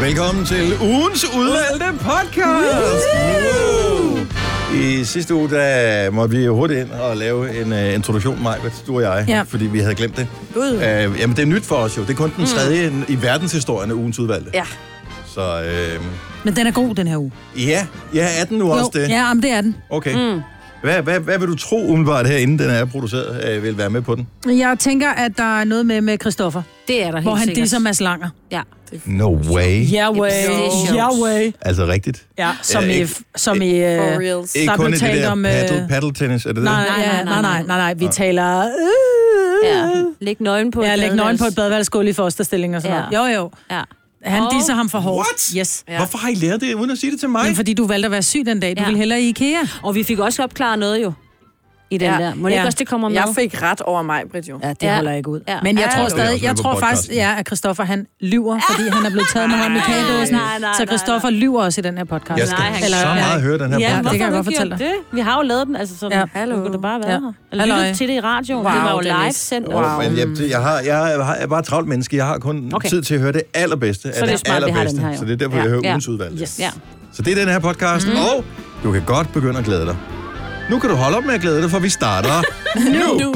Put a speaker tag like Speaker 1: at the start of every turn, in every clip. Speaker 1: Velkommen til ugens udvalgte podcast. I sidste uge, der måtte vi jo hurtigt ind og lave en uh, introduktion, Majbert, du og jeg,
Speaker 2: Ja.
Speaker 1: fordi vi havde glemt det.
Speaker 2: Gud.
Speaker 1: Uh, jamen, det er nyt for os jo. Det er kun den tredje mm. i verdenshistorien af ugens udvalgte.
Speaker 2: Ja.
Speaker 1: Så øh,
Speaker 2: Men den er god, den her uge.
Speaker 1: ja, ja, er den nu også det?
Speaker 2: Ja, men det er den.
Speaker 1: Okay. Mm. Hvad, hvad, hvad vil du tro umiddelbart herinde, den er produceret, øh, vil være med på den?
Speaker 2: Jeg tænker, at der er noget med med Christoffer,
Speaker 3: Det er der
Speaker 2: hvor
Speaker 3: helt
Speaker 2: han
Speaker 3: sikkert.
Speaker 2: disser Mads Langer.
Speaker 3: Ja.
Speaker 1: No way.
Speaker 2: Yeah
Speaker 3: way.
Speaker 2: Yeah way.
Speaker 1: Altså rigtigt?
Speaker 2: Ja, som
Speaker 1: Øh,
Speaker 2: i...
Speaker 1: ikke-
Speaker 2: Som i øh,
Speaker 3: For reals.
Speaker 2: Der
Speaker 1: Ikke
Speaker 2: er
Speaker 1: kun i
Speaker 2: blevet
Speaker 1: det
Speaker 2: talt
Speaker 1: der
Speaker 2: om, øh,
Speaker 1: paddle, paddle tennis, er det
Speaker 2: nej,
Speaker 1: det?
Speaker 3: Nej,
Speaker 2: ja, nej,
Speaker 3: nej, nej,
Speaker 2: nej, nej, nej, vi taler... øh.
Speaker 3: Ja. Læg nøgen på
Speaker 2: Ja,
Speaker 3: et
Speaker 2: lægge nøgen på et
Speaker 3: badeværelse.
Speaker 2: badeværelsgulv i fosterstilling og sådan
Speaker 3: Ja.
Speaker 2: noget. Jo, jo.
Speaker 3: Ja.
Speaker 2: Han
Speaker 3: Og-
Speaker 2: disser ham for hårdt.
Speaker 1: What?
Speaker 2: Yes.
Speaker 1: Ja. Hvorfor har I lært det, uden at sige det til mig?
Speaker 2: Men fordi du valgte at være syg den dag. Du
Speaker 3: Ja.
Speaker 2: ville hellere i IKEA.
Speaker 3: Og vi fik også opklaret noget jo. I den
Speaker 4: Ja.
Speaker 3: der. Må det
Speaker 2: Ja.
Speaker 3: ikke også, det kommer med?
Speaker 4: Jeg fik ret over mig, Britt, jo.
Speaker 2: Ja, det
Speaker 3: Ja.
Speaker 2: holder ikke ud.
Speaker 3: Ja.
Speaker 2: Men jeg
Speaker 4: Ja,
Speaker 2: tror
Speaker 4: det
Speaker 1: er også
Speaker 2: stadig,
Speaker 1: med
Speaker 2: jeg
Speaker 1: på
Speaker 2: tror faktisk,
Speaker 1: podcasten.
Speaker 2: ja, at Christoffer han lyver, fordi han er blevet taget med hånden i kagedåsen.
Speaker 3: Nej, nej, nej,
Speaker 2: Så
Speaker 3: nej,
Speaker 2: Christoffer lyver også i den her podcast.
Speaker 1: Jeg skal
Speaker 3: Nej, han-
Speaker 1: Eller, så
Speaker 2: ja,
Speaker 1: meget høre den her
Speaker 3: Ja,
Speaker 2: det
Speaker 3: hvorfor
Speaker 1: podcast.
Speaker 2: kan jeg
Speaker 3: har
Speaker 2: godt
Speaker 3: du
Speaker 2: fortælle
Speaker 3: gjort det? Vi har jo lavet den, altså
Speaker 2: Ja.
Speaker 3: sådan, ja. hallo. kunne det bare være
Speaker 2: Ja.
Speaker 3: ja. her. Eller lyttet
Speaker 2: Halløj.
Speaker 3: til det i radioen, wow, det
Speaker 4: Wow,
Speaker 3: var jo
Speaker 4: Dennis.
Speaker 3: live sendt.
Speaker 4: Wow.
Speaker 3: Wow.
Speaker 1: Wow. Men jeg, jeg, har, jeg, har, jeg er bare et travlt menneske. Jeg har kun okay.
Speaker 3: Okay.
Speaker 1: tid til at høre det allerbedste
Speaker 3: Så
Speaker 1: af
Speaker 3: det er
Speaker 1: det,
Speaker 3: smart, vi har den
Speaker 1: allerbedste.
Speaker 3: her, jo.
Speaker 1: så det er derfor,
Speaker 3: Ja.
Speaker 1: jeg hører
Speaker 3: Ja. Mhm.
Speaker 1: ugens udvalg.
Speaker 3: Yes. Ja.
Speaker 1: Så det er den her podcast, mm. og du kan godt begynde at glæde dig. Nu kan du holde op med at glæde dig, for vi starter nu. nu.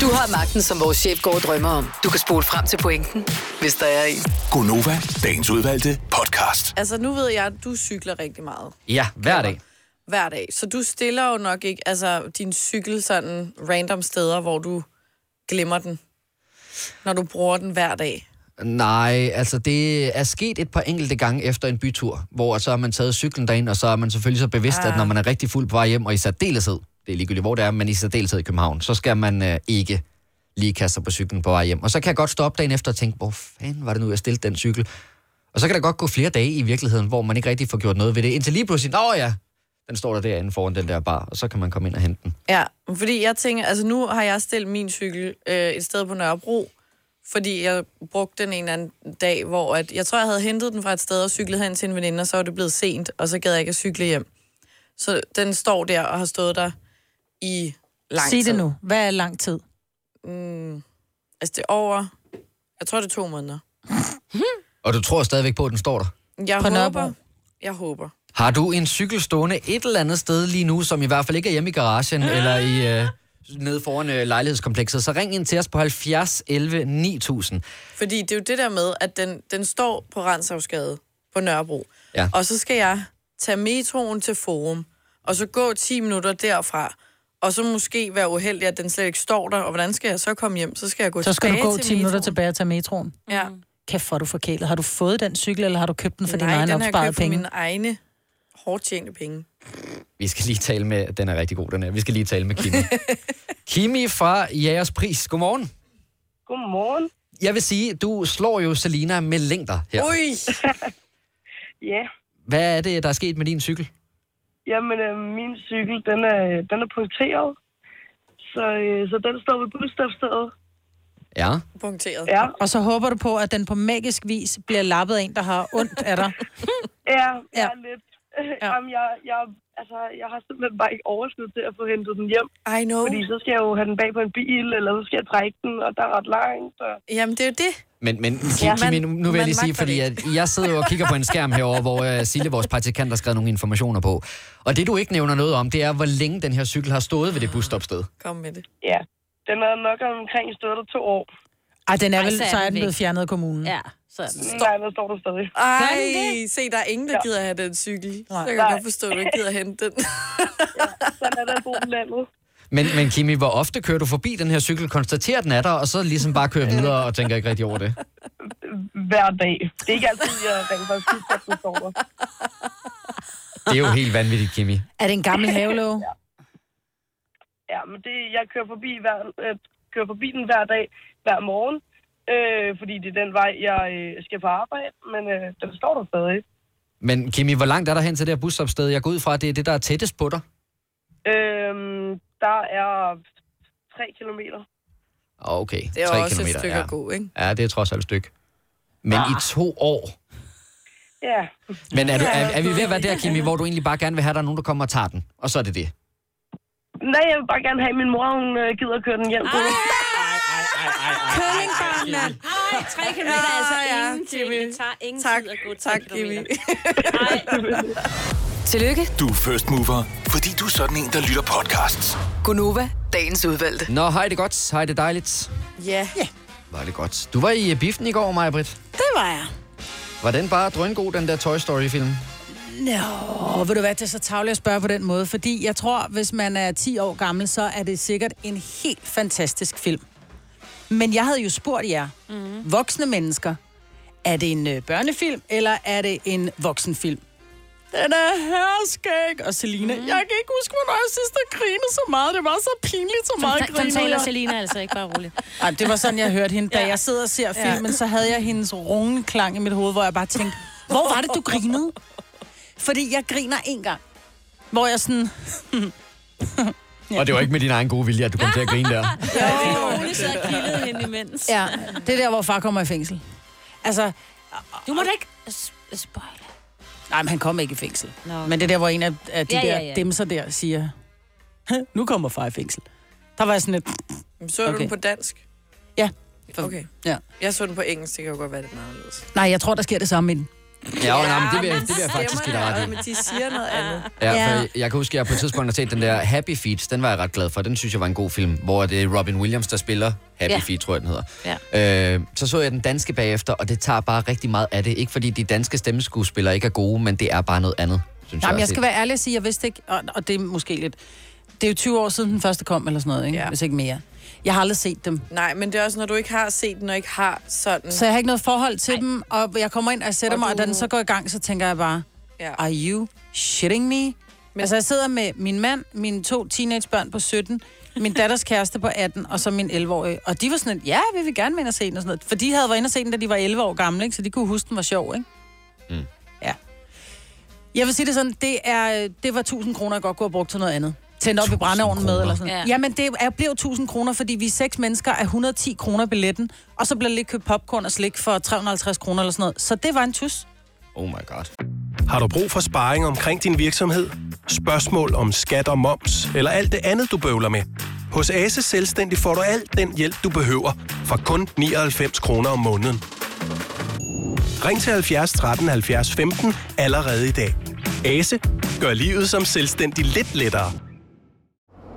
Speaker 5: Du har magten, som vores chef går og drømmer om. Du kan spole frem til pointen, hvis der er en.
Speaker 6: Gonova, dagens udvalgte podcast.
Speaker 4: Altså, nu ved jeg, at du cykler rigtig meget
Speaker 7: Ja, hver dag.
Speaker 4: hver dag. Så du stiller jo nok ikke altså, din cykel sådan random steder, hvor du glemmer den, når du bruger den hver dag.
Speaker 7: Nej, altså det er sket et par enkelte gange efter en bytur, hvor så har man taget cyklen derind, og så er man selvfølgelig så bevidst, ah. at når man er rigtig fuld på vej hjem, og i særdeleshed, det er ligegyldigt hvor det er, men i særdeleshed i København, så skal man øh, ikke lige kaste sig på cyklen på vej hjem. Og så kan jeg godt stoppe dagen efter og tænke, hvor fanden var det nu, jeg stillede den cykel? Og så kan der godt gå flere dage i virkeligheden, hvor man ikke rigtig får gjort noget ved det, indtil lige pludselig, åh ja, den står der derinde foran den der bar, og så kan man komme ind og hente den.
Speaker 4: Ja, fordi jeg tænker, altså nu har jeg stillet min cykel øh, et sted på Nørrebro, fordi jeg brugte den en eller anden dag, hvor at, jeg tror, jeg havde hentet den fra et sted og cyklet hen til en veninde, og så var det blevet sent, og så gad jeg ikke at cykle hjem. Så den står der og har stået der i lang
Speaker 2: Sig
Speaker 4: tid.
Speaker 2: det nu. Hvad er lang tid?
Speaker 4: Altså, det er over... Jeg tror, det er to måneder.
Speaker 7: Og du tror stadigvæk på, at den står der?
Speaker 4: Jeg
Speaker 2: På
Speaker 4: håber...
Speaker 2: Nørrebro?
Speaker 4: Jeg håber.
Speaker 7: Har du en cykel stående et eller andet sted lige nu, som i hvert fald ikke er hjemme i garagen eller i øh, nede foran øh, lejlighedskomplekset, så ring ind til os på 70 11 9000.
Speaker 4: Fordi det er jo det der med, at den, den står på Renshavsgade på Nørrebro.
Speaker 7: Ja.
Speaker 4: Og så skal jeg tage metroen til Forum, og så gå 10 minutter derfra, og så måske være uheldig, at den slet ikke står der. Og hvordan skal jeg så komme hjem? Så skal jeg gå
Speaker 2: Så skal du
Speaker 4: tilbage
Speaker 2: gå
Speaker 4: til
Speaker 2: 10 minutter
Speaker 4: metroen.
Speaker 2: tilbage og tage metroen.
Speaker 4: Ja.
Speaker 2: Kæft, hvor er du forkælet. Har du fået den cykel, eller har du købt den for dine
Speaker 4: Nej,
Speaker 2: egne
Speaker 4: den har jeg
Speaker 2: opsparede
Speaker 4: købt for
Speaker 2: penge?
Speaker 4: mine egne hårdt tjente penge.
Speaker 7: Vi skal lige tale med, den er rigtig god den her, vi skal lige tale med Kimi. Kimi fra Jægers Pris, godmorgen.
Speaker 8: Godmorgen.
Speaker 7: Jeg vil sige, du slår jo Selina med længder her.
Speaker 4: Ja. Ui!
Speaker 8: Ja,
Speaker 7: Hvad er det, der er sket med din cykel?
Speaker 8: jamen øh, min cykel, den er, den er punkteret. Så, øh, så den står ved budskabsstedet.
Speaker 7: Ja.
Speaker 4: Punkteret.
Speaker 8: Ja,
Speaker 2: Og så håber du på, at den på magisk vis bliver lappet af en, der har ondt af dig.
Speaker 8: ja, ja.
Speaker 2: Ja.
Speaker 8: lidt.
Speaker 2: Ja.
Speaker 8: Ja. Jamen, jeg, jeg, altså, jeg har simpelthen bare ikke overskud til at få hentet den hjem.
Speaker 4: I know.
Speaker 8: Fordi så skal jeg jo have den bag på en bil, eller så skal jeg trække den, og der er ret langt. Og...
Speaker 4: Jamen, det er jo det.
Speaker 7: Men, men
Speaker 4: Ja.
Speaker 7: Kimi, nu, nu vil
Speaker 4: Man
Speaker 7: jeg lige sige,
Speaker 4: magter
Speaker 7: fordi
Speaker 4: det
Speaker 7: jeg, jeg sidder jo og kigger på en skærm herover, hvor uh, Sille, vores praktikant, har skrevet nogle informationer på. Og det, du ikke nævner noget om, det er, hvor længe den her cykel har stået ved det busstopsted.
Speaker 4: Kom med det.
Speaker 8: Ja, den er nok omkring stået der to år.
Speaker 2: Ej, den er
Speaker 3: Ej,
Speaker 2: vel,
Speaker 3: så er
Speaker 2: så er
Speaker 3: den
Speaker 2: den
Speaker 3: væk.
Speaker 2: blevet fjernet af kommunen.
Speaker 3: Ja, så er den.
Speaker 8: Nej, der står der stadig.
Speaker 3: den
Speaker 4: Ej, se, der er ingen, der gider have den cykel. Så kan jeg
Speaker 8: Nej.
Speaker 4: godt forstå, at du ikke gider hente den.
Speaker 8: Sådan er der at bo på landet.
Speaker 7: Men, men Kimi, hvor ofte kører du forbi den her cykel, konstaterer den er der, og så ligesom bare kører videre og tænker ikke rigtig over det?
Speaker 8: Hver dag. Det er ikke altid, jeg rent faktisk synes, at den står der.
Speaker 7: Det er jo helt vanvittigt, Kimi.
Speaker 2: Er det en gammel havelåge?
Speaker 8: Ja, men det, jeg kører forbi, hver, øh, kører forbi den hver dag, hver morgen, øh, fordi det er den vej, jeg øh, skal på arbejde, men øh, den står der stadig.
Speaker 7: Men Kimi, hvor langt er der hen til det her busstopsted? Jeg går ud fra, at det er det, der er tættest på dig.
Speaker 8: Øh, der er 3 kilometer.
Speaker 7: Ah, Okay,
Speaker 4: Det er
Speaker 7: tre
Speaker 4: også
Speaker 7: kilometer,
Speaker 4: et stykke
Speaker 7: ja.
Speaker 4: ja. god, ikke? Ah.
Speaker 7: Ja, det er trods alt et stykke. Men i to år.
Speaker 8: Ja,
Speaker 7: Men er, du, er, er vi ved at være der, Kimi, hvor du egentlig bare gerne vil have, at der er nogen, der kommer og tager den? Og så er det det.
Speaker 2: Ah,
Speaker 8: nej, jeg vil bare gerne have, at min mor hun, øh, gider at køre den hjem. Ej,
Speaker 7: Ej, ej, ej, ej, ej, ej, ej.
Speaker 2: mand.
Speaker 3: Ej, tre kilometer er altså
Speaker 4: Ah, ja,
Speaker 3: ingenting.
Speaker 4: Jimmy.
Speaker 3: Det tager ingen
Speaker 4: Tak,
Speaker 3: tid at gå tre
Speaker 4: tak,
Speaker 3: kilometer.
Speaker 4: Jimmy.
Speaker 5: Tillykke,
Speaker 6: Du er first mover, fordi du er sådan en, der lytter podcasts.
Speaker 5: Gunova, dagens udvalgte.
Speaker 7: Nå, hej det er godt. Hej det er dejligt.
Speaker 4: Ja.
Speaker 7: Var det godt. Du var i øh, biffen i går, Maja Britt.
Speaker 3: Det var jeg.
Speaker 7: Var den bare drøngod, den der Toy Story-film?
Speaker 2: Nå, vil du være til så tavlig at spørge på den måde? Fordi jeg tror, hvis man er 10 år gammel, så er det sikkert en helt fantastisk film. Men jeg havde jo spurgt jer, mm. voksne mennesker, er det en øh, børnefilm, eller er det en voksenfilm? Den er herskæg. Og Selina, mm. jeg kan ikke huske, hvornår jeg sidst har grinet så meget. Det var så pinligt, så meget
Speaker 3: Sådan
Speaker 2: griner
Speaker 3: taler
Speaker 2: jeg.
Speaker 3: Selina altså ikke bare roligt.
Speaker 2: Ej, det var sådan, jeg hørte hende. Da jeg sidder og ser filmen, så havde jeg hendes rungende klang i mit hoved, hvor jeg bare tænkte, hvor var det, du grinede? Fordi jeg griner en gang. Hvor jeg sådan,
Speaker 7: Ja. Og det var ikke med din egen gode vilje, at du kom til at grine der.
Speaker 3: Jo, Ole sad og kildede hende imens.
Speaker 2: ja, det er der, hvor far kommer i fængsel. Altså,
Speaker 3: Du må da ikke s- spoil.
Speaker 2: nej, men han kom ikke i fængsel.
Speaker 3: Nå.
Speaker 2: Men det er der, hvor en af, af de ja,
Speaker 3: Ja, ja,
Speaker 2: der
Speaker 3: ja.
Speaker 2: demser der siger, "Hæ, nu kommer far i fængsel. Der var jeg sådan lidt,
Speaker 4: Så okay. du
Speaker 2: Okay.
Speaker 4: den på dansk?
Speaker 2: Ja.
Speaker 4: Okay.
Speaker 2: Ja.
Speaker 4: Jeg så den på engelsk, det kan jo godt være lidt meget anderledes.
Speaker 2: nej, jeg tror, der sker det samme i den.
Speaker 7: Ja, ja nej, men det vil, jeg- det vil jeg faktisk give dig ret i.
Speaker 4: Men de siger noget andet.
Speaker 7: Ja,
Speaker 2: Ja.
Speaker 7: for jeg, jeg kan huske, at jeg på et tidspunkt har set den der Happy Feet. Den var jeg ret glad for. Den synes jeg var en god film, hvor det er Robin Williams, der spiller Happy
Speaker 3: Ja.
Speaker 7: ja. Feet, tror jeg, den hedder. Ja. Øh, så så jeg den danske bagefter, og det tager bare rigtig meget af det. Ikke fordi de danske stemmeskuespillere ikke er gode, men det er bare noget andet, synes
Speaker 2: Nej,
Speaker 7: jeg.
Speaker 2: men jeg
Speaker 7: også.
Speaker 2: skal være ærlig og sige, jeg vidste ikke, og, og det er måske lidt... Det er jo 20 år siden, den første kom, eller sådan noget, ikke?
Speaker 4: Ja.
Speaker 2: Ja. hvis ikke mere. Jeg har aldrig set dem.
Speaker 4: Nej, men det er også, når du ikke har set den, og ikke har sådan...
Speaker 2: Så jeg har ikke noget forhold til Ej. dem, og jeg kommer ind, og jeg sætter
Speaker 4: Og
Speaker 2: mig, og
Speaker 4: du-
Speaker 2: da den så går i gang, så tænker jeg bare,
Speaker 4: Ja.
Speaker 2: are you shitting me? Men... Altså, jeg sidder med min mand, mine to teenagebørn på 17, min datters kæreste på 18, og så min 11-årige. Og de var sådan, lidt, ja, vi vil gerne med ind og se den, og sådan noget. For de havde været inde og se den, da de var 11 år gamle, ikke? så de kunne huske, den var sjov, ikke?
Speaker 7: Mm.
Speaker 2: Ja. Jeg vil sige det sådan, det, er, det var 1000 kroner, jeg godt kunne have brugt til noget andet. Tændt op i
Speaker 7: 1000
Speaker 2: brændeovnen med,
Speaker 7: kroner?
Speaker 2: eller sådan. Ja.
Speaker 3: Ja.
Speaker 2: Jamen, det er, bliver jo 1000 kroner, fordi vi er seks mennesker af 110 kroner billetten, og så bliver der lige købt popcorn og slik for 350 kroner eller sådan noget. Så det var en tus.
Speaker 7: Oh my god.
Speaker 9: Har du brug for sparring omkring din virksomhed? Spørgsmål om skat og moms, eller alt det andet, du bøvler med? Hos Ase Selvstændig får du alt den hjælp, du behøver, for kun 99 kroner om måneden. Ring til 70 13 70 15 allerede i dag. Ase gør livet som selvstændig lidt lettere.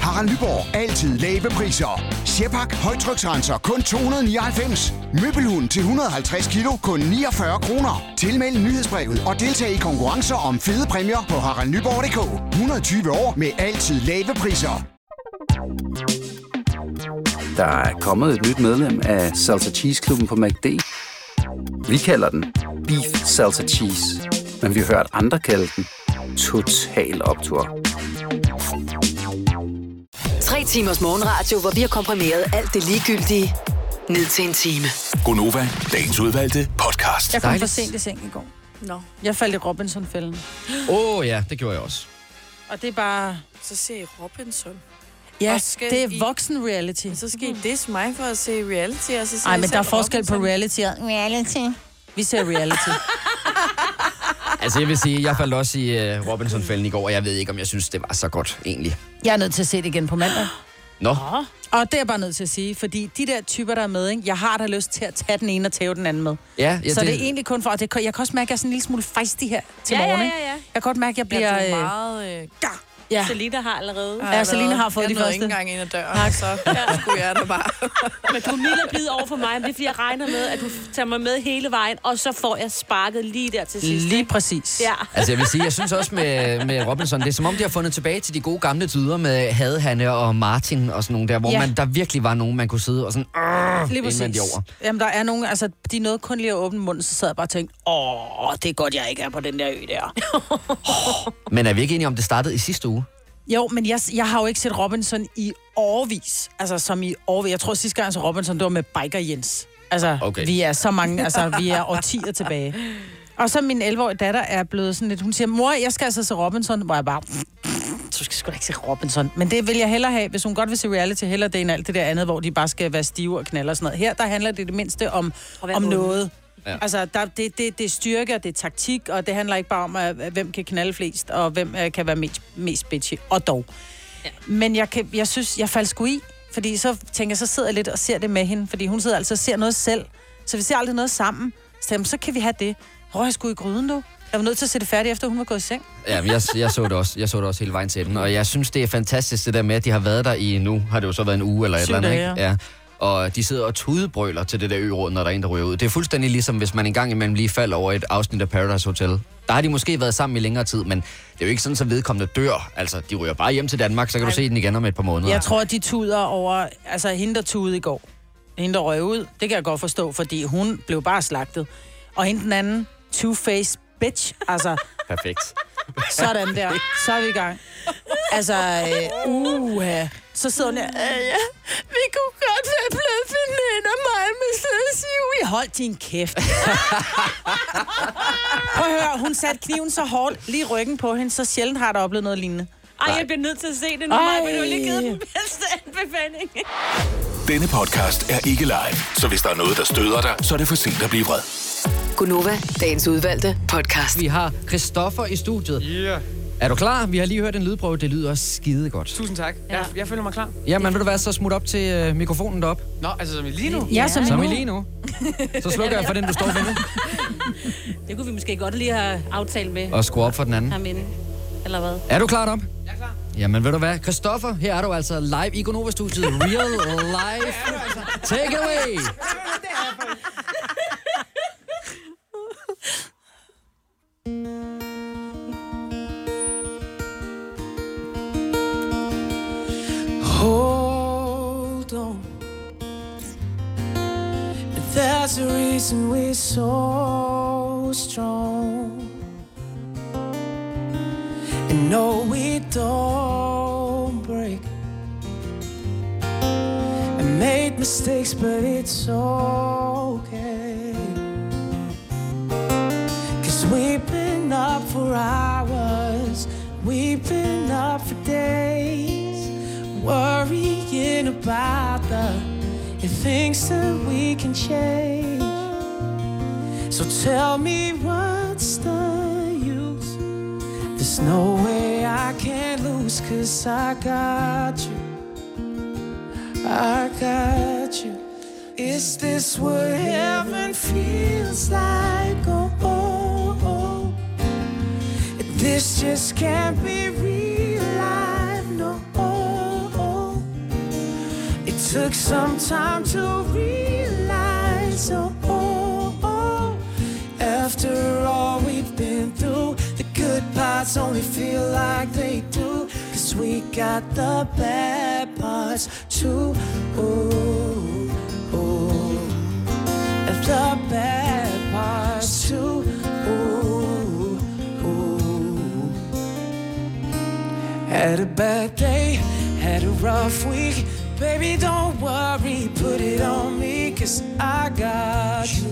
Speaker 10: Harald Nyborg. Altid lave priser. Sjehpak. Højtryksrenser. Kun 299. Møbelhund til 150 kilo. Kun 49 kroner. Tilmeld nyhedsbrevet og deltag i konkurrencer om fede præmier på haraldnyborg.dk. 120 år med altid lave priser.
Speaker 11: Der er kommet et nyt medlem af Salsa Cheese Klubben på MACD. Vi kalder den Beef Salsa Cheese, men vi har hørt andre kalde den Total Optor.
Speaker 5: Tre timers morgenradio, hvor vi har komprimeret alt det ligegyldige ned til en time.
Speaker 6: Gonova, dagens udvalgte podcast.
Speaker 2: Jeg kom for
Speaker 7: Dejligt.
Speaker 2: sent i seng i går.
Speaker 4: Nå.
Speaker 2: Jeg faldt i Robinson-fælden.
Speaker 7: Åh oh, ja, det gjorde jeg også.
Speaker 2: Og det er bare...
Speaker 4: Så ser I Robinson.
Speaker 2: Ja,
Speaker 4: Og skal
Speaker 2: det
Speaker 4: I-
Speaker 2: er voksen-reality.
Speaker 4: Så skal I disse mig for at se reality, og så ser
Speaker 2: Nej,
Speaker 4: I
Speaker 2: men
Speaker 4: selv
Speaker 2: der er forskel på
Speaker 4: Robinson.
Speaker 2: reality og... Reality. Vi ser reality.
Speaker 7: Altså jeg vil sige, jeg faldt også i uh, Robinson-fælden i går, og jeg ved ikke, om jeg synes, det var så godt egentlig.
Speaker 2: Jeg er nødt til at se det igen på mandag.
Speaker 7: Nå,
Speaker 2: Og det er jeg bare nødt til at sige, fordi de der typer, der er med, ikke? jeg har da lyst til at tage den ene og tæve den anden med.
Speaker 7: ja, ja
Speaker 2: Ja, så det... det er egentlig kun for, og det, jeg kan også mærke, at jeg er sådan en lille smule fejstig her til
Speaker 3: Ja, ja,
Speaker 2: morgen.
Speaker 3: ja,
Speaker 2: ikke?
Speaker 3: ja.
Speaker 2: Jeg kan godt mærke, at jeg
Speaker 4: Ja, du
Speaker 2: bliver...
Speaker 4: er
Speaker 2: øh,
Speaker 4: meget... Øh,
Speaker 2: ja.
Speaker 3: Selina har allerede.
Speaker 2: Ja, Selina har fået
Speaker 4: jeg
Speaker 2: de
Speaker 4: nåede
Speaker 2: første.
Speaker 4: ikke engang ind ad døren, og så skulle jeg der bare.
Speaker 3: Men du er mild og blid over for mig, men det er, fordi jeg regner med, at du tager mig med hele vejen, og så får jeg sparket lige der til sidst.
Speaker 2: Lige præcis.
Speaker 3: Ja.
Speaker 7: Altså jeg vil sige, jeg synes også med, med Robinson, det er som om, de har fundet tilbage til de gode gamle dyder med Hadehanne og Martin og sådan nogle der, hvor
Speaker 2: Ja.
Speaker 7: ja. man, der virkelig var nogen, man kunne sidde og sådan, "Arrr",
Speaker 2: Lige
Speaker 7: inden man de over.
Speaker 2: Jamen, der er nogen, altså, de nåede kun lige at åbne munden, så sad jeg bare og tænkte, åh, det er godt, jeg ikke er på den der ø der.
Speaker 7: Men er vi ikke enige om, det startede i sidste uge?
Speaker 2: jo, men jeg, jeg har jo ikke set Robinson i årvis. Altså, som i årvis. Jeg tror, sidste gang, så Robinson, det var med Biker Jens. Altså,
Speaker 7: Okay.
Speaker 2: vi er så mange, altså, vi er årtier tilbage. Og så min 11-årige datter er blevet sådan lidt, hun siger, mor, jeg skal altså se Robinson, hvor jeg bare, du skal sgu da ikke se Robinson. Men det vil jeg hellere have, hvis hun godt vil se reality, hellere det end alt det der andet, hvor de bare skal være stive og knaller og sådan noget. Her, der handler det det mindste om, om
Speaker 3: ond.
Speaker 2: noget.
Speaker 3: Ja.
Speaker 2: Ja. Altså, der, det, det, det er styrke, og det er taktik, og det handler ikke bare om, at, at hvem kan knalde flest, og hvem øh, kan være mest, mest bitchy, og dog. Ja. Men jeg, kan, jeg synes, jeg faldt sgu i, fordi så tænker jeg, så sidder jeg lidt og ser det med hende, fordi hun sidder altså og ser noget selv, så vi ser aldrig noget sammen. Så, jamen, så kan vi have det. Hvor jeg sgu i gryden, du? Jeg var nødt til at se det færdigt, efter hun var gået i seng.
Speaker 7: Ja, men jeg, jeg, så det også, jeg så det også hele vejen til den, og jeg synes, det er fantastisk det der med, at de har været der i nu, har det jo så været en uge eller et
Speaker 2: Syv
Speaker 7: eller andet,
Speaker 2: dage,
Speaker 7: ikke? Ja. Og de sidder og tudebrøler til det der ø når der er en, der ryger ud. Det er fuldstændig ligesom, hvis man en gang imellem lige falder over et afsnit af Paradise Hotel. Der har de måske været sammen i længere tid, men det er jo ikke sådan, at vedkommende dør. Altså, de ryger bare hjem til Danmark, så kan du se den igen om et par måneder.
Speaker 2: Jeg tror, de tuder over... Altså, hende, der tudede i går. Hende, der røg ud. Det kan jeg godt forstå, fordi hun blev bare slagtet. Og hende den anden, two-face bitch. Altså,
Speaker 7: Perfekt.
Speaker 2: sådan der. Så er vi i gang. Altså, øh, uha. Så sidder hun der. Øh, ja. Vi kunne godt være blevet veninder, mig med Sassi. Hold din kæft. Prøv at høre, hun satte kniven så hårdt lige i ryggen på hende, så sjældent har der oplevet noget lignende.
Speaker 3: Ej, jeg bliver nødt til at se det nu, Maja, men du har lige givet den bedste anbefaling.
Speaker 6: Denne podcast er ikke live, så hvis der er noget, der støder dig, så er det for sent at blive vred.
Speaker 5: Gunova, dagens udvalgte podcast.
Speaker 7: Vi har Christoffer i studiet. Yeah. Er du klar? Vi har lige hørt en lydprøve. Det lyder skide godt.
Speaker 12: Tusind tak. Ja. Jeg, jeg føler mig klar.
Speaker 7: Jamen, vil du være så smut op til øh, mikrofonen derop?
Speaker 12: Nå, altså som I lige nu?
Speaker 7: Ja, som i Som i nu. lige nu. Så slukker jeg for den, du står ved nu.
Speaker 3: Det kunne vi måske godt lige have aftalt med.
Speaker 7: Og skrue op for den anden.
Speaker 3: Ham inde. Eller hvad?
Speaker 7: Er du klar op? Jeg er klar. Jamen, ved du hvad? Christoffer, her er du altså live i Gonova-studiet. Real live. Take it away.
Speaker 13: Hold on. There's a reason we're so strong. And no, we don't break. I made mistakes, but it's okay. Cause we've been up for hours, we've been up for days worrying about the things that we can change. So tell me what's the use? There's no way I can lose, cause I got you. I got you. Is this what heaven feels like? Oh, oh, oh. This just can't be real life, no. It took some time to realize, oh, oh, oh. After all we've been through, the good parts only feel like they do. Cause we got the bad parts too. Ooh, ooh. And the bad parts too. Ooh, ooh. Had a bad day, had a rough week. Baby, don't worry, put it on me, cause I got you.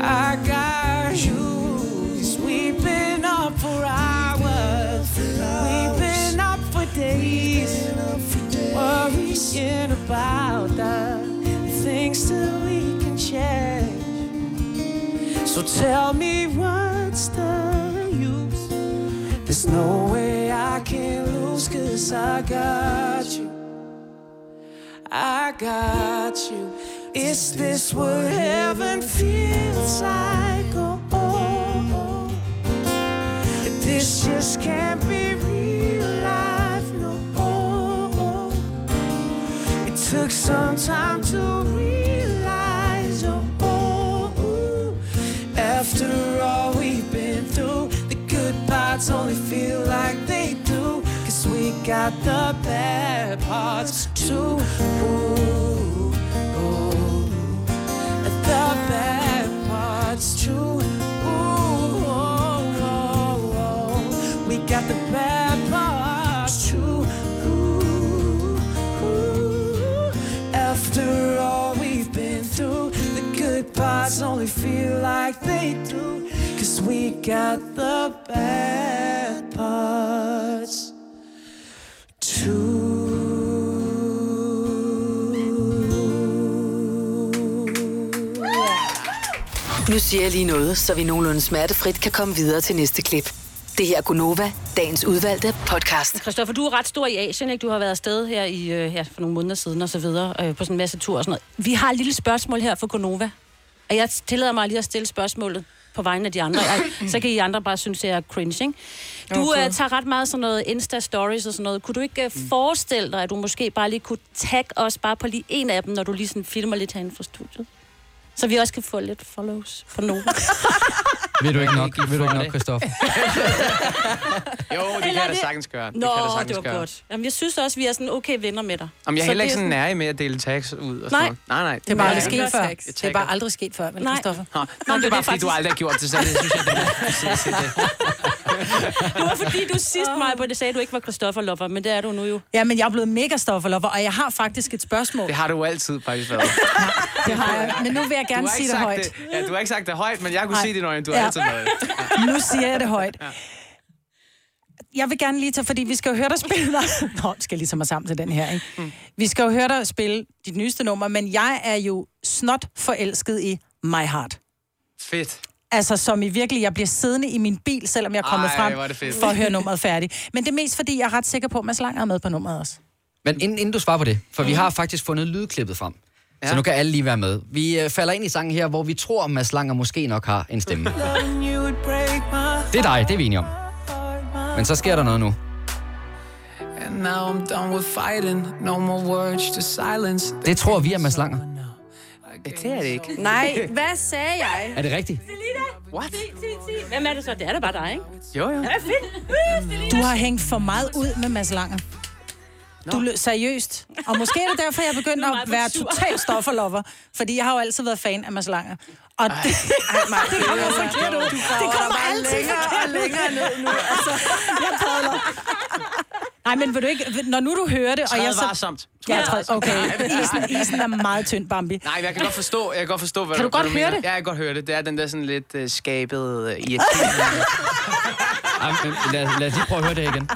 Speaker 13: I got you. 'Cause we've been up for hours. We've been up for days. Worrying about the things that we can change. So tell me what's the use? There's no way I can lose, cause I got you. I got you. Is this what heaven feels like? Oh, oh, oh. This just can't be real life. No, oh, oh. it took some time to realize. Oh, oh, oh. after all we've been through, the good parts only feel like they do. Cause we got the bad parts too. Ooh, ooh the bad parts too. Ooh, oh, oh, oh. We got the bad parts too. Ooh, ooh. After all we've been through, the good parts only feel like they right through. Cause we got the bad parts too.
Speaker 5: Nu siger jeg lige noget, så vi nogenlunde smertefrit kan komme videre til næste klip. Det her er Gunova, dagens udvalgte podcast.
Speaker 3: Christoffer, du er ret stor i Asien, ikke? Du har været afsted her, i, øh, her for nogle måneder siden og så videre, øh, på sådan en masse tur og sådan noget. Vi har et lille spørgsmål her for Gonova. Og jeg tillader mig lige at stille spørgsmålet på vegne af de andre. Jeg, så kan I andre bare synes, at jeg er cringe, ikke? Du
Speaker 2: Okay.
Speaker 3: okay. øh, tager ret meget sådan noget Insta-stories og sådan noget. Kunne du ikke øh, forestille dig, at du måske bare lige kunne tagge os bare på lige en af dem, når du lige sådan filmer lidt herinde fra studiet? Så vi også kan få lidt follows på Nova.
Speaker 7: Ved du ikke nok, ved du ikke nok, Christoffer?
Speaker 12: Jo, det kan jeg
Speaker 3: Eller
Speaker 12: da
Speaker 3: det-
Speaker 12: sagtens gøre.
Speaker 3: Nå,
Speaker 12: det kan jeg da sagtens
Speaker 3: det var
Speaker 12: gøre.
Speaker 3: godt. Jamen, jeg synes også, vi er sådan okay venner med dig.
Speaker 12: Jamen, jeg er
Speaker 3: Så
Speaker 12: heller ikke
Speaker 3: det
Speaker 12: sådan nærig med at dele tags ud og sådan
Speaker 3: Nej.
Speaker 12: noget. Nej, nej.
Speaker 2: Det er bare
Speaker 12: Jeg-
Speaker 2: aldrig sket
Speaker 12: jeg-
Speaker 2: før.
Speaker 12: jeg
Speaker 2: Det er
Speaker 12: tagger.
Speaker 2: bare aldrig sket før, vel,
Speaker 3: Nej.
Speaker 2: Christoffer?
Speaker 12: Nå,
Speaker 3: Nå,
Speaker 12: men det
Speaker 3: det
Speaker 12: er
Speaker 3: var
Speaker 12: bare, fordi du
Speaker 3: faktisk-
Speaker 12: aldrig har gjort det, så det synes jeg, det er præcis det.
Speaker 3: Det var fordi, du sidst mig på det sagde, du ikke var Christoffer Lover, men det er du nu jo.
Speaker 2: Ja, men jeg er blevet mega stofferlopper, og jeg har faktisk et spørgsmål.
Speaker 12: Det har du jo altid faktisk været.
Speaker 2: Det har jeg. Men nu vil jeg
Speaker 12: Du
Speaker 2: gerne
Speaker 12: har ikke
Speaker 2: sige det
Speaker 12: sagt
Speaker 2: højt.
Speaker 12: Det. Ja, du har ikke sagt det højt, men jeg kunne
Speaker 2: Nej.
Speaker 12: se det, når du har
Speaker 2: Ja.
Speaker 12: altid været. det.
Speaker 2: Nu siger jeg det højt. Jeg vil gerne lige tage, fordi vi skal jo høre dig spille dig. Nå, skal jeg lige tage mig sammen til den her,
Speaker 12: Mm.
Speaker 2: ikke? Vi skal jo høre dig spille dit nyeste nummer, men jeg er jo snot forelsket i My Heart.
Speaker 12: Fedt.
Speaker 2: Altså, som i virkelig, jeg bliver siddende i min bil, selvom jeg er kommet
Speaker 12: Ej,
Speaker 2: frem
Speaker 12: hvor er det fedt.
Speaker 2: for at høre nummeret færdigt. Men det er mest, fordi jeg er ret sikker på, at Mads Langer er med på nummeret også.
Speaker 7: Men inden, inden du svarer på det, for vi har faktisk fundet lydklippet frem. Ja. Så nu kan alle lige være med. Vi øh, falder ind i sangen her, hvor vi tror, at Mads Langer måske nok har en stemme.
Speaker 13: Loving you would break my
Speaker 7: Det er dig, det er vi enige om. Men så sker der noget nu.
Speaker 13: And now I'm done with fighting. No more words to silence.
Speaker 7: Det tror vi er Mads Langer.
Speaker 12: Det er det ikke.
Speaker 4: Nej, hvad sagde jeg?
Speaker 7: Er det rigtigt?
Speaker 12: What?
Speaker 3: Hvem er det så? Det er da bare dig, ikke?
Speaker 12: Jo, jo.
Speaker 3: Ja, fedt.
Speaker 2: Du har hængt for meget ud med Mads Langer. Du lød seriøst. Og måske er det derfor, jeg begynder at være total stofferlover. Fordi jeg har jo altid været fan af Mads Langer. Og det, det kommer forkert ud. Det kommer altid forkert ud.
Speaker 4: nu. Altså,
Speaker 2: jeg padler. Nej, men vil du ikke, når nu du hører det, og
Speaker 12: Træd
Speaker 2: jeg så...
Speaker 12: varsomt. Træd
Speaker 2: Ja, træd,
Speaker 12: varsomt.
Speaker 2: okay.
Speaker 12: Nej, nej.
Speaker 2: Isen, isen er meget tynd, Bambi.
Speaker 12: Nej, men jeg kan godt forstå, jeg kan godt forstå hvad
Speaker 2: Kan du godt
Speaker 12: hvad
Speaker 2: høre
Speaker 12: mener.
Speaker 2: det?
Speaker 12: Ja, jeg kan godt høre det. Det er den der sådan lidt uh, skabede uh, irriterende.
Speaker 7: Ej, men lad, lad os lige prøve at høre det igen.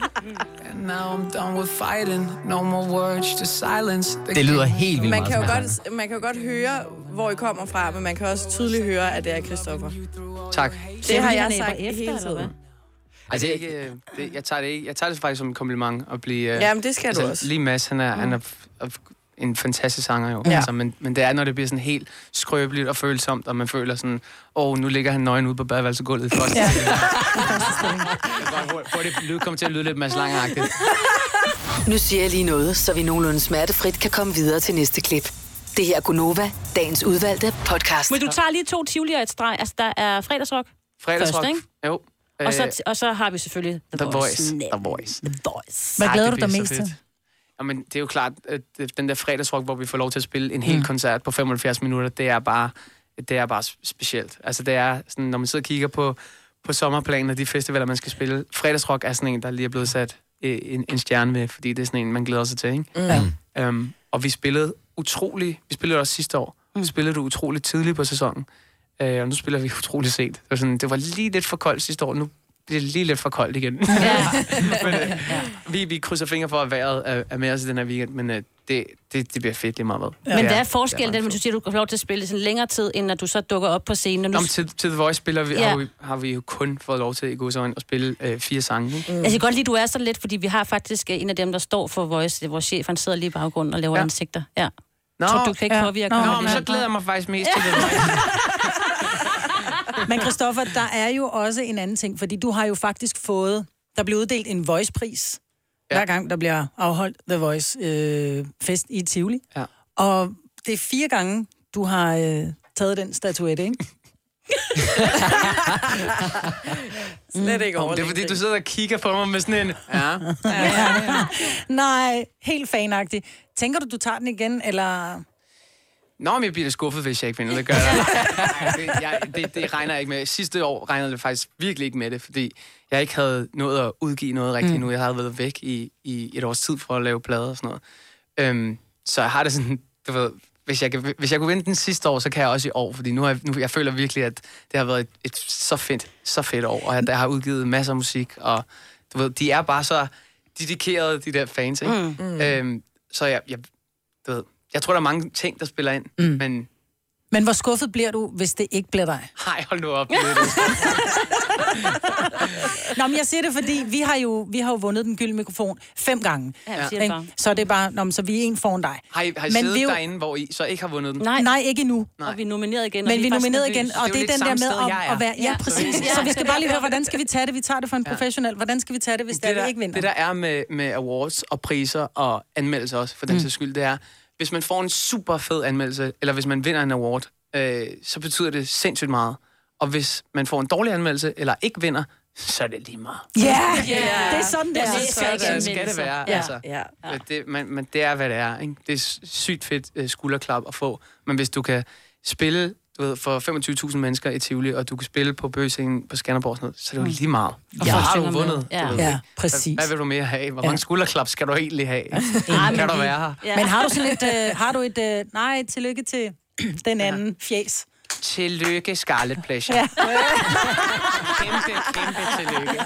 Speaker 13: And now I'm done with fighting. No more words to silence.
Speaker 7: Det lyder helt vildt
Speaker 4: Man kan, jo
Speaker 7: meget. som Mads
Speaker 4: godt, man kan jo godt høre, hvor I kommer fra, men man kan også tydeligt høre, at det er Christoffer.
Speaker 12: Langer. Tak.
Speaker 4: Det har
Speaker 3: fordi
Speaker 4: jeg
Speaker 3: han æber
Speaker 4: sagt
Speaker 3: efter,
Speaker 4: hele
Speaker 3: eller hvad?
Speaker 4: tiden.
Speaker 12: Altså, det, er ikke, øh, det, jeg, tager det ikke, jeg tager det faktisk som en kompliment at blive... øh,
Speaker 4: Jamen, det skal du også. Mm.
Speaker 12: Lige Mads, han er, han er f- f- en fantastisk sanger jo.
Speaker 4: Ja.
Speaker 12: Ja. Altså, men, men det er, når det bliver sådan helt skrøbeligt og følsomt, og man føler sådan, åh, oh, nu ligger han nøgen ude på badeværelsegulvet i første ja. Hvor det lyd kommer til at lyde lidt Mads Langeragtigt.
Speaker 5: Nu siger jeg lige noget, så vi nogenlunde smertefrit kan komme videre til næste klip. Det her er Gunova, dagens udvalgte podcast.
Speaker 3: Men du tager lige to Tivoli og et streg. Altså, der er fredagsrock.
Speaker 12: Fredagsrock.
Speaker 3: Først, ikke?
Speaker 12: Jo.
Speaker 3: Og
Speaker 12: Øh,
Speaker 3: så, og så har vi selvfølgelig The,
Speaker 12: The Voice.
Speaker 3: Næ.
Speaker 12: The Voice.
Speaker 3: The Voice.
Speaker 2: Hvad
Speaker 12: Ej,
Speaker 2: glæder
Speaker 12: det
Speaker 2: du dig
Speaker 12: bliver
Speaker 2: mest
Speaker 12: så
Speaker 2: til?
Speaker 12: fedt. Jamen, det er jo klart, at det- den der fredagsrock, hvor vi får lov til at spille en hel
Speaker 2: Mm.
Speaker 12: mm. koncert på 75 minutter, det er bare, det er bare specielt. Altså, det er sådan, når man sidder og kigger på, på sommerplanen og de festivaler, man skal spille. Fredagsrock er sådan en, der lige er blevet sat øh, en, en stjerne ved, fordi det er sådan en, man glæder sig til, ikke?
Speaker 2: Mm.
Speaker 12: Um, og vi spillede utrolig, vi spillede også sidste år, mm. vi spillede det utrolig tidligt på sæsonen, uh, og nu spiller vi utrolig sent. Det var, sådan, det var lige lidt for koldt sidste år, nu bliver det lige lidt for koldt igen. men, uh, vi, vi krydser fingre for, at vejret er, er med os i den her weekend, men uh, det, det, det bliver fedt lige meget hvad.
Speaker 3: Ja. Men hvad er forskellen, den, du siger, du får lov til at spille det sådan længere tid, end at du så dukker op på scenen? Og nu...
Speaker 12: Om til, til The Voice spiller vi,
Speaker 3: Ja.
Speaker 12: ja. har, vi, har vi jo kun fået lov til i godsøjne at spille øh, fire sange. ikke?
Speaker 3: Altså, jeg kan godt lide, du er sådan lidt, fordi vi har faktisk øh, en af dem, der står for Voice. Vores chef, han sidder lige i baggrunden og laver ja. ansigter. Ja. Nå, Tror, du kan ikke ja. påvirke
Speaker 12: Nå,
Speaker 3: ham
Speaker 12: men så
Speaker 3: alligevel.
Speaker 12: glæder jeg mig faktisk mest til det.
Speaker 2: Men Christoffer, der er jo også en anden ting, fordi du har jo faktisk fået... Der bliver uddelt en voice-pris, ja. hver gang der bliver afholdt The Voice-fest i Tivoli.
Speaker 12: Ja.
Speaker 2: Og det er fire gange, du har øh, taget den statuette, ikke?
Speaker 4: Slet ikke
Speaker 12: Nå, Det er fordi, du sidder og kigger på mig med sådan en... Ja.
Speaker 2: Nej, helt fanagtig. Tænker du, du tager den igen, eller...
Speaker 12: Nå, men jeg bliver lidt skuffet, hvis jeg ikke vinder. Det gør jeg. Nej, det, jeg det, det regner jeg ikke med. Sidste år regnede jeg faktisk virkelig ikke med det, fordi jeg ikke havde nået at udgive noget rigtigt
Speaker 14: Mm.
Speaker 12: mm. nu. Jeg havde været væk i, i et års tid for at lave plader og sådan noget. Øhm, så jeg har det sådan, du ved, hvis jeg, kan, hvis jeg kunne vinde den sidste år, så kan jeg også i år, fordi nu, har jeg, nu jeg føler virkelig, at det har været et, et så fedt, så fedt år, og at jeg har udgivet masser af musik, og du ved, de er bare så dedikerede, de der fans, ikke?
Speaker 13: Mm. Mm.
Speaker 12: Øhm, så jeg, jeg, du ved, jeg tror, der er mange ting, der spiller ind, mm. men
Speaker 2: Men hvor skuffet bliver du, hvis det ikke bliver dig?
Speaker 12: nej, hold nu op. Mette.
Speaker 2: Nå, men jeg siger det, fordi vi har jo, vi har jo vundet den gyldne mikrofon fem gange.
Speaker 12: Ja, jeg siger det
Speaker 2: Ikke?
Speaker 12: bare.
Speaker 2: Så det er bare, nå, men så vi er en foran dig.
Speaker 12: Har I, har I
Speaker 2: Men
Speaker 12: siddet
Speaker 2: vi er jo- Mm,
Speaker 12: derinde, hvor I så ikke har vundet den?
Speaker 2: Nej, nej ikke endnu.
Speaker 12: Nej. Og
Speaker 3: vi er nomineret igen.
Speaker 2: Men vi er nomineret igen, og
Speaker 12: jo
Speaker 2: det er
Speaker 12: lidt
Speaker 2: den der
Speaker 12: samme
Speaker 2: med
Speaker 12: sted, jeg
Speaker 2: at,
Speaker 12: er.
Speaker 2: at være... Ja,
Speaker 12: Ja.
Speaker 2: præcis.
Speaker 12: Ja.
Speaker 2: Så vi skal bare lige høre, hvordan skal vi tage det? Vi tager det for en professionel. Hvordan skal vi tage det, hvis det, er,
Speaker 12: der,
Speaker 2: vi ikke vinder?
Speaker 12: det der er med, med awards og priser og anmeldelser også, for den
Speaker 2: Mm.
Speaker 12: sags skyld, det er, hvis man får en super fed anmeldelse, eller hvis man vinder en award, øh, så betyder det sindssygt meget. Og hvis man får en dårlig anmeldelse, eller ikke vinder, så er det lige meget.
Speaker 2: Ja, det er sådan, det er.
Speaker 12: Sådan
Speaker 2: Sådan
Speaker 12: skal, det, skal det
Speaker 2: anmeldelser.
Speaker 12: være.
Speaker 2: Ja.
Speaker 12: Ja. Altså,
Speaker 2: Ja.
Speaker 12: ja. Det, man, man, det er, hvad det er. Ikke? Det er sy- sygt fedt øh, skulderklap at få. Men hvis du kan spille du ved, for 25.000 mennesker i Tivoli, og du kan spille på bøgescenen på Skanderborg, og sådan noget, så er det jo lige meget. Og
Speaker 2: Ja.
Speaker 12: så har
Speaker 2: Synger
Speaker 12: du
Speaker 2: med.
Speaker 12: vundet.
Speaker 2: Ja.
Speaker 12: du ved,
Speaker 2: Ja,
Speaker 12: ikke?
Speaker 2: præcis.
Speaker 12: Hvad, hvad vil du mere have? Hvor
Speaker 2: Ja.
Speaker 12: mange skulderklap skal du egentlig have?
Speaker 3: Altså,
Speaker 2: Ja,
Speaker 12: kan
Speaker 2: men
Speaker 12: du
Speaker 2: vi-
Speaker 12: være her?
Speaker 2: Ja. Men har du sådan et... Øh, har du et øh, nej, tillykke til den anden ja. fjes.
Speaker 12: Tillykke, Scarlet Pleasure.
Speaker 2: Ja.
Speaker 12: Ja. Kæmpe, kæmpe tillykke.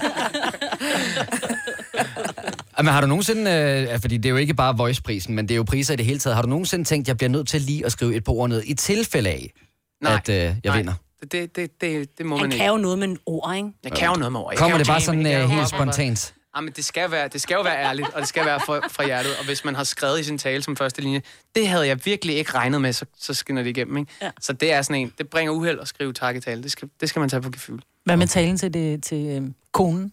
Speaker 7: Jamen, har du nogensinde, øh, fordi det er jo ikke bare voiceprisen, men det er jo priser i det hele taget, har du nogensinde tænkt, jeg bliver nødt til lige at skrive et par ord ned i tilfælde af,
Speaker 12: Nej.
Speaker 7: at øh, jeg
Speaker 12: Nej.
Speaker 7: vinder?
Speaker 12: Det, det, det, det, det må
Speaker 3: Han
Speaker 12: man ikke.
Speaker 3: kan jo noget med en ord, ikke?
Speaker 12: Jeg kan jo noget med over. Jeg kan
Speaker 7: Kommer
Speaker 12: jo
Speaker 7: det bare
Speaker 12: jamme, jeg
Speaker 7: sådan
Speaker 12: kan
Speaker 7: øh,
Speaker 12: jo
Speaker 7: helt
Speaker 12: hoppe op og-
Speaker 7: spontant?
Speaker 12: Jamen, Ah, det skal, være, det skal jo være ærligt, og det skal være fra, fra hjertet. Og hvis man har skrevet i sin tale som første linje, det havde jeg virkelig ikke regnet med, så, så skinner det igennem. Ikke? Ja. Så det er sådan en, det bringer uheld at skrive takketale. Det skal, det skal man tage på gefyl.
Speaker 2: Hvad med talen til, det, til øh, konen?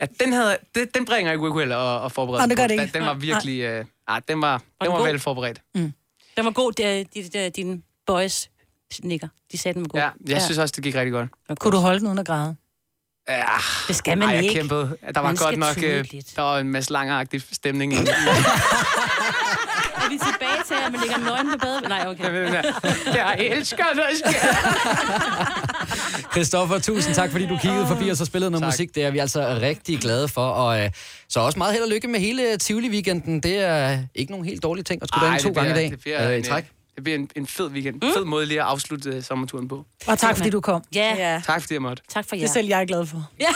Speaker 12: Ja, den, havde, det, den bringer ikke uheld at, at forberede.
Speaker 2: Nej, det gør
Speaker 12: på.
Speaker 2: det
Speaker 12: Den-
Speaker 2: ikke.
Speaker 12: Den var
Speaker 2: Nej.
Speaker 12: virkelig... Øh, ah, den var,
Speaker 3: den
Speaker 12: den var
Speaker 3: god?
Speaker 12: vel forberedt.
Speaker 2: Mm.
Speaker 3: Den var god, de, de, de, dine boys nikker. De sagde, den var god.
Speaker 12: Ja, jeg synes også, det gik rigtig godt.
Speaker 2: Kunne du holde den uden at græde?
Speaker 12: Ja,
Speaker 3: det skal man
Speaker 12: ej, jeg
Speaker 3: ikke.
Speaker 12: Kæmpede. Der var
Speaker 3: Man
Speaker 12: godt
Speaker 3: skal
Speaker 12: nok...
Speaker 3: tåle
Speaker 12: Øh, der var en masse langeragtig stemning i.
Speaker 3: Er vi tilbage til, at man ligger nøgen på badet? Nej, okay.
Speaker 12: Jeg elsker det.
Speaker 7: Christoffer, tusind tak, fordi du kiggede forbi os og spillede noget tak. musik. Det er vi altså rigtig glade for. Og øh, så også meget held og lykke med hele Tivoli-weekenden. Det er ikke nogen helt dårlige ting at skulle
Speaker 12: Ej,
Speaker 7: derinde to
Speaker 12: det bliver-
Speaker 7: gange i dag.
Speaker 12: Det bliver,
Speaker 7: øh,
Speaker 12: en,
Speaker 7: i
Speaker 12: øh,
Speaker 7: træk.
Speaker 12: det bliver en, en fed weekend. Mm. Fed måde lige at afslutte øh, sommerturen på.
Speaker 2: Og tak, fordi du kom.
Speaker 3: Ja.
Speaker 15: ja.
Speaker 12: Tak fordi jeg måtte.
Speaker 3: Tak for
Speaker 15: jer.
Speaker 2: Det er selv jeg er glad for.
Speaker 3: Ja.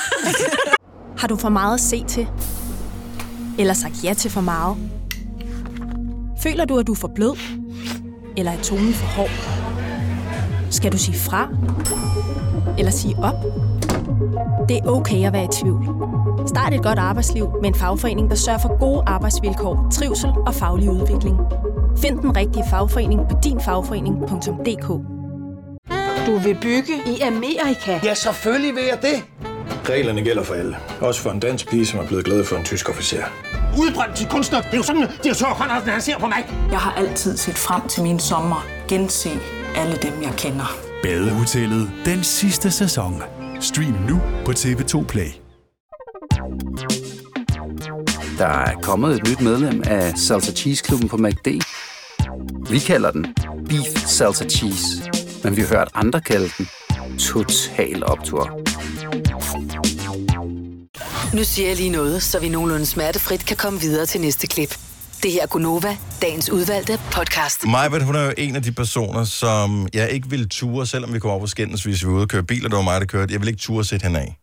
Speaker 15: Har du for meget at se til? Eller sagt ja til for meget? Føler du, at du er for blød? Eller er tonen for hård? Skal du sige fra? Eller sige op? Det er okay at være i tvivl. Start et godt arbejdsliv med en fagforening, der sørger for gode arbejdsvilkår, trivsel og faglig udvikling. Find den rigtige fagforening på dinfagforening.dk Du vil bygge i Amerika? Ja, selvfølgelig vil jeg det.
Speaker 14: Reglerne gælder for alle. Også for en dansk pige, som er blevet glad for en tysk officer.
Speaker 16: Udbrøndt til kunstner. Det er jo sådan, at de har tørt håndhæften, han ser på mig. Jeg har altid set frem til min sommer. Gense alle dem, jeg kender.
Speaker 6: Badehotellet den sidste sæson. Stream nu på TV2 Play.
Speaker 11: Der er kommet et nyt medlem af Salsa Cheese Klubben på MACD. Vi kalder den Beef Salsa Cheese, men vi har hørt andre kalde den Total Optor.
Speaker 5: Nu siger jeg lige noget, så vi nogenlunde smertefrit kan komme videre til næste klip. Det her er Gunova, dagens udvalgte podcast.
Speaker 1: Majbert, hun er jo en af de personer, som jeg ikke ville ture, selvom vi kom op på skændes, hvis vi var ude og køre biler, det var mig, der kørte. Jeg vil ikke ture at sætte hende af.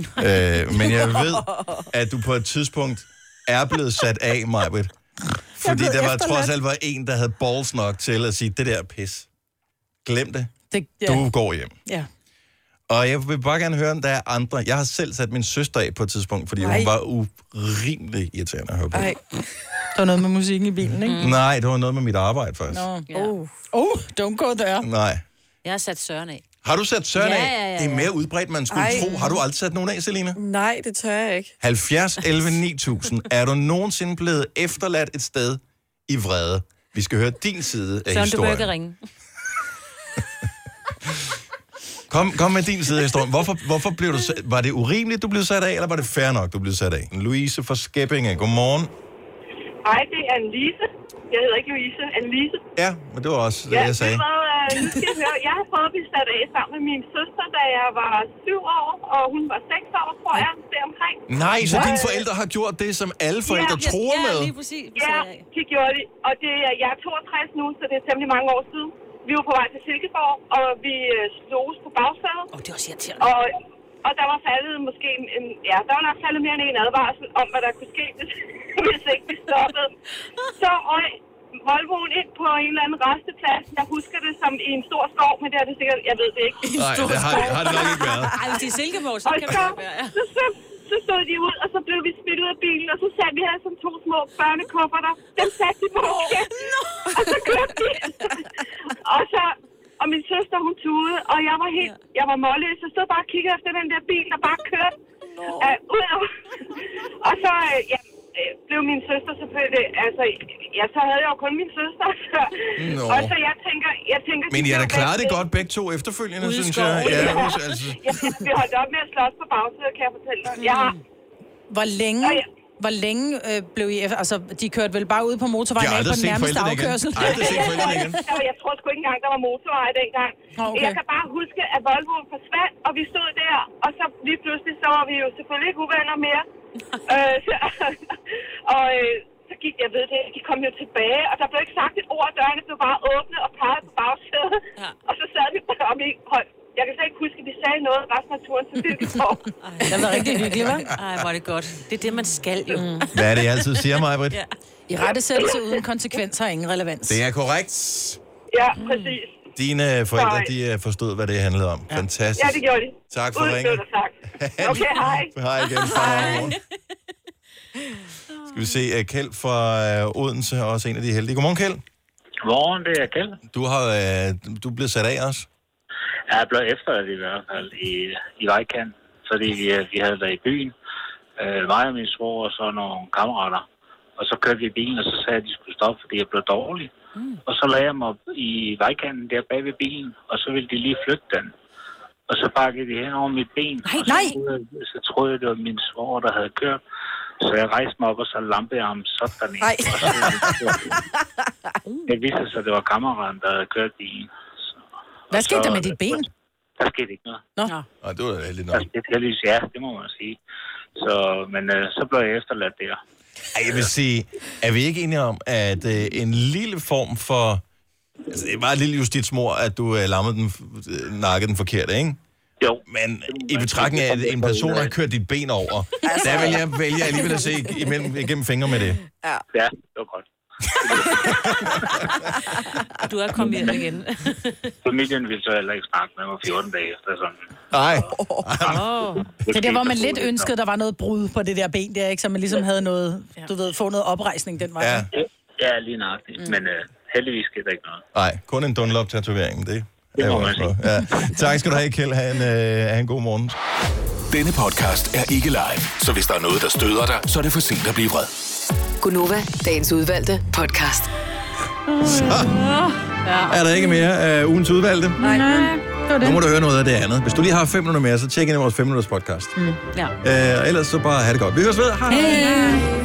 Speaker 1: øh, men jeg ved, at du på et tidspunkt er blevet sat af, Majbert. Fordi
Speaker 2: blev
Speaker 1: der var
Speaker 2: efterladt.
Speaker 1: trods alt var en, der havde balls nok til at sige, det der er pis. Glem det.
Speaker 2: Det,
Speaker 1: Du går hjem.
Speaker 2: Ja.
Speaker 1: Og jeg vil bare gerne høre, om der er andre. Jeg har selv sat min søster af på et tidspunkt, fordi Ej.
Speaker 2: Nej.
Speaker 1: hun var urimelig irriterende at høre på.
Speaker 2: Ej. Der var noget med musikken i bilen, ikke?
Speaker 1: Mm. Nej, det var noget med mit arbejde, faktisk.
Speaker 2: Nå. Oh. oh, don't go there.
Speaker 1: No. Nej.
Speaker 3: Jeg har sat Søren af.
Speaker 1: Har du sat Søren
Speaker 4: Ja,
Speaker 1: af?
Speaker 4: ja, ja, ja.
Speaker 1: Det er mere udbredt, man skulle
Speaker 4: Ej.
Speaker 1: Ej. tro. Har du aldrig sat nogen af, Selina?
Speaker 4: Nej, det tør jeg ikke.
Speaker 1: 70, 11, 9000. Er du nogensinde blevet efterladt et sted i vrede? Vi skal høre din side af
Speaker 3: Søren, du behøver
Speaker 1: historien.
Speaker 3: ikke at ringe.
Speaker 1: Kom, kom med din side af historien. Hvorfor, hvorfor blev du sat, var det urimeligt, du blev sat af, eller var det fair nok, du blev sat af? Louise fra Skæppinge, godmorgen.
Speaker 17: Nej, det er Anne-Lise. Jeg hedder ikke Louise, Anne-Lise.
Speaker 1: Ja, men det var også det, jeg sagde.
Speaker 17: Det var, øh, nu skal jeg, høre. jeg har prøvet at blive sat af sammen med min søster, da jeg var syv år, og hun var seks år, tror jeg, deromkring.
Speaker 1: Nej, så
Speaker 17: Og,
Speaker 1: dine
Speaker 17: øh,
Speaker 1: forældre har gjort det, som alle forældre tror med.
Speaker 17: præcis. Ja, det gjorde de. Og det, er- jeg er 62 nu, så det er temmelig mange år siden. Vi var på vej til Silkeborg, og vi øh, sloges på bagsædet. Og det var også irriterende. Og, og der var faldet måske en, en, ja, der var nok faldet mere end en advarsel om, hvad der kunne ske, hvis, hvis ikke vi stoppede. Så røg Volvoen ind på en eller anden resteplads. Jeg husker det som i en stor skov, men det er det sikkert, jeg ved det ikke.
Speaker 1: Nej, det har, har det nok ikke været.
Speaker 17: Ej, hvis det er Silkeborg, så kan det godt være, ja. Så, så, så stod de ud, og så blev vi smidt ud af bilen, og så satte vi her som to små børnekufferter. Dem satte de på. Oh, no. Og så kørte vi. og så... Og min søster, hun tudede, og jeg var helt... Jeg var målløs. Jeg stod bare og kiggede efter den der bil, der bare kørte. No. Uh, ud af, og så... øh, ja, øh, blev min søster selvfølgelig... Altså, ja, så havde jeg jo kun min søster. Så,
Speaker 1: Nå.
Speaker 17: Og så jeg tænker... Jeg tænker
Speaker 1: Men
Speaker 17: de
Speaker 1: I har da
Speaker 17: blev
Speaker 1: klaret det
Speaker 17: væk-
Speaker 1: godt begge to efterfølgende,
Speaker 17: Ude i
Speaker 1: synes
Speaker 17: skoven.
Speaker 1: jeg. Ja, altså,
Speaker 17: Ja, vi holdt op med at slås på bagsædet, kan jeg fortælle dig. Jeg har
Speaker 2: Hvor længe, hvor længe øh, blev I... efter- Altså, de kørte vel bare ud på motorvejen
Speaker 1: Jeg har
Speaker 2: af på
Speaker 1: aldrig
Speaker 2: den
Speaker 1: set
Speaker 2: nærmeste
Speaker 1: forældrene igen.
Speaker 2: afkørsel?
Speaker 1: Jeg har aldrig set forældrene igen.
Speaker 17: Jeg, jeg, jeg tror sgu ikke engang, der var motorvej dengang.
Speaker 2: okay.
Speaker 17: Jeg kan bare huske, at Volvoen forsvandt, og vi stod der, og så lige pludselig, så var vi jo selvfølgelig ikke uvenner mere. øh, så, og øh, så gik, jeg ved det, de kom jo tilbage, og der blev ikke sagt et ord, dørene blev bare åbnet og peget på bagsædet, ja. og så sad vi bare om i hold. Jeg kan slet ikke huske, at vi sagde noget resten af turen til Silkeborg.
Speaker 3: Det var rigtig hyggeligt, hva'? Ej, hvor er det godt. Det er det, man skal jo.
Speaker 1: Hvad er det, jeg altid siger, mig, Britt?
Speaker 2: I rettesættelse uden konsekvenser og ingen relevans.
Speaker 1: Det er korrekt.
Speaker 17: Ja, præcis.
Speaker 1: Dine forældre,
Speaker 17: Nej.
Speaker 1: de øh, forstod, hvad det handlede om. Fantastisk.
Speaker 17: Ja, det gjorde de.
Speaker 1: Tak for
Speaker 17: Udstødt
Speaker 1: ringen.
Speaker 17: og tak. Okay, hej.
Speaker 1: Hej igen. Hej. Skal vi se, uh, Kjeld fra uh, Odense er også en af de heldige. Godmorgen, Kjeld.
Speaker 18: Godmorgen, det er Kjeld.
Speaker 1: Du, har, uh, du blev sat af også.
Speaker 18: Jeg blev efterladt i hvert fald i, i vejkanten, fordi vi, vi havde været i byen. Øh, mig og min svor og så nogle kammerater. Og så kørte vi i bilen, og så sagde jeg, at de skulle stoppe, fordi jeg blev dårlig. Mm. Og så lagde jeg mig op i vejkanten der bag ved bilen, og så ville de lige flytte den. Og så bakkede de hen over mit ben. Nej, og så, nej. Troede jeg, så troede jeg, det var min svor, der havde kørt. Så jeg rejste mig op, og så lampede jeg ham sådan en. Og så- Det viste sig, at det var kammeraten, der havde kørt bilen.
Speaker 2: Hvad skete der
Speaker 18: så-
Speaker 2: med dit ben?
Speaker 18: Der skete ikke noget.
Speaker 2: Nå.
Speaker 1: Og det var da heldigt
Speaker 18: Der skete heldigvis, ja, det må man sige. Så, men øh, så blev jeg efterladt der.
Speaker 1: Ej, jeg vil sige, er vi ikke enige om, at øh, en lille form for... Altså, det var et lille justitsmor, at du øh, lammede den, øh, nakkede den forkert, ikke?
Speaker 18: Jo.
Speaker 1: Men i betragtning af, at en person har kørt dit ben over, altså. der vil jeg vælge alligevel at se imellem, igennem fingre med det.
Speaker 18: Ja. ja, det var godt.
Speaker 3: Du er kommet hjem igen.
Speaker 18: Familien ville så heller ikke snakke med mig 14 dage efter sådan.
Speaker 1: Nej.
Speaker 18: Oh.
Speaker 2: Det er der, hvor man lidt ønskede, der var noget brud på det der ben der, ikke? Så man ligesom havde noget, du ved, få noget oprejsning den vej.
Speaker 1: Ja.
Speaker 18: Ja, lige nøjagtigt. Mm. Men øh, heldigvis skete der ikke noget.
Speaker 1: Nej, kun en Dunlop-tatovering, det
Speaker 18: Det
Speaker 1: er
Speaker 18: må
Speaker 1: jo
Speaker 18: man
Speaker 1: også noget. Ja. Tak skal du have, Kjeld. Ha' en, øh, ha en god morgen.
Speaker 6: Denne podcast er ikke live, så hvis der er noget, der støder dig, så er det for sent at blive vred.
Speaker 5: Gunova, dagens udvalgte podcast.
Speaker 1: Er der ikke mere øh, ugens udvalgte?
Speaker 2: Nej, det var det.
Speaker 1: Nu må du høre noget af det andet. Hvis du lige har 5 minutter mere, så tjek ind i vores 5 minutters podcast.
Speaker 2: Ja.
Speaker 1: Øh, og ellers så bare have det godt. Vi høres ved. Hej.
Speaker 2: Hej.